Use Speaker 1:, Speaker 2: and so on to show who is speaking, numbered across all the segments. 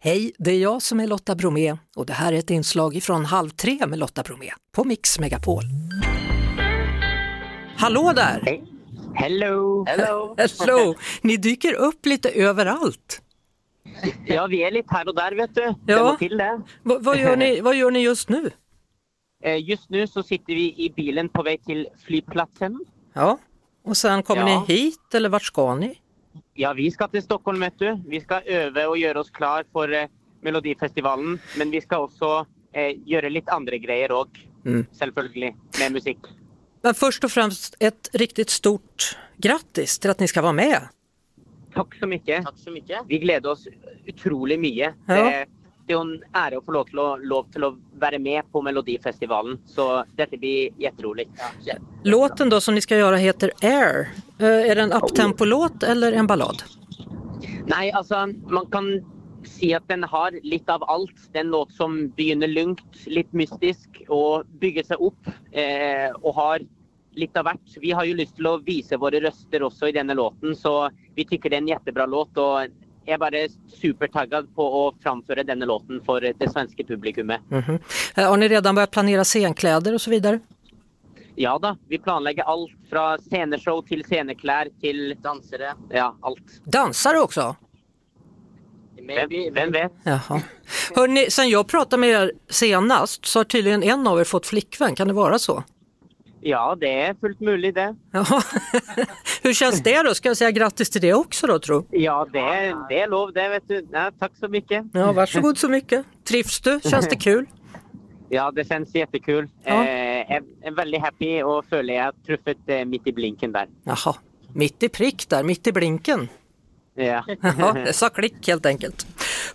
Speaker 1: Hej, det är jag som är Lotta Bromé och det här är ett inslag från Halv tre med Lotta Bromé på Mix Megapol. Hallå där!
Speaker 2: Hej. Hello!
Speaker 3: Hello!
Speaker 1: Hello! Ni dyker upp lite överallt.
Speaker 2: Ja, vi är lite här och där vet du.
Speaker 1: Ja.
Speaker 2: Det må till det.
Speaker 1: Va- vad, gör ni, vad gör ni just nu?
Speaker 2: Eh, Just nu så sitter vi i bilen på väg till flygplatsen.
Speaker 1: Ja, och sen kommer
Speaker 2: Ja.
Speaker 1: ni hit eller vart ska ni?
Speaker 2: Ja, vi ska till Stockholm vet du. Vi ska öva och göra oss klar för eh, Melodifestivalen. Men vi ska också eh, göra lite andra grejer också.
Speaker 1: Mm.
Speaker 2: Självklart med musik.
Speaker 1: Men först och främst ett riktigt stort grattis till att ni ska vara med.
Speaker 2: Tack så mycket.
Speaker 3: Tack så mycket.
Speaker 2: Vi gleder oss utrolig mye.
Speaker 1: Ja.
Speaker 2: Det, det är en ära att få lov till att, lov till att vara med på Melodifestivalen. Så detta blir jätteroligt.
Speaker 1: Låten då som ni ska göra heter Air. Eh, Är det en uptempo-låt eller en ballad?
Speaker 2: Nej, alltså man kan säga att den har lite av allt. Den låt som börjar lugnt, lite mystisk och bygger sig upp eh, och har lite av vart. Vi har ju lust till att visa våra röster också i denna låten så vi tycker det är en jättebra låt och jag är bara supertaggad på att framföra denna låten för det svenska publikummet.
Speaker 1: Mhm. Eh, Har ni redan börjat planera scenkläder och så vidare?
Speaker 2: Ja då, vi planlägger allt från sceneshow till sceneklär till
Speaker 3: Dansare.
Speaker 2: ja, allt.
Speaker 1: Dansar du också?
Speaker 2: Vem,
Speaker 3: Maybe.
Speaker 2: vem vet?
Speaker 1: Jaha. Hörrni, sen jag pratade med er senast så har tydligen en av er fått flickvän, kan det vara så?
Speaker 2: Ja, det är fullt möjligt det.
Speaker 1: Jaha. Hur känns det då? Ska jag säga grattis till det också då tro?
Speaker 2: Ja, det är, det är lov det vet du. Ja, tack så mycket.
Speaker 1: Ja, varsågod så mycket. Trivs du? Känns det kul?
Speaker 2: Ja, det känns jättekul.
Speaker 1: Ja.
Speaker 2: Eh, jag är väldigt happy och följer jag har truffat eh, mitt i blinken där.
Speaker 1: Jaha, mitt i prick där, mitt i blinken.
Speaker 2: Ja.
Speaker 1: Ja, det sa klick helt enkelt.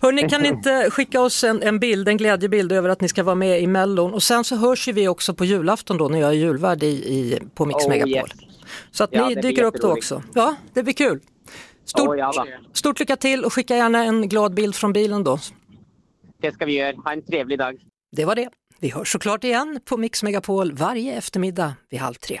Speaker 1: Hörrni, kan ni inte skicka oss en, en bild, en glädjebild över att ni ska vara med i Mellon och sen så hörs ju vi också på julafton då när jag är julvärd i, i, på Mix
Speaker 2: Oh,
Speaker 1: Megapol.
Speaker 2: yes.
Speaker 1: Så att
Speaker 2: Ja,
Speaker 1: ni
Speaker 2: det blir
Speaker 1: dyker upp då
Speaker 2: jätteroligt.
Speaker 1: också. Ja, det blir kul. Stort,
Speaker 2: Åh, ja, va.
Speaker 1: stort lycka till och skicka gärna en glad bild från bilen då.
Speaker 2: Det ska vi göra. Ha en trevlig dag.
Speaker 1: Det var det. Vi hörs såklart igen på Mix Megapol varje eftermiddag vid halv tre.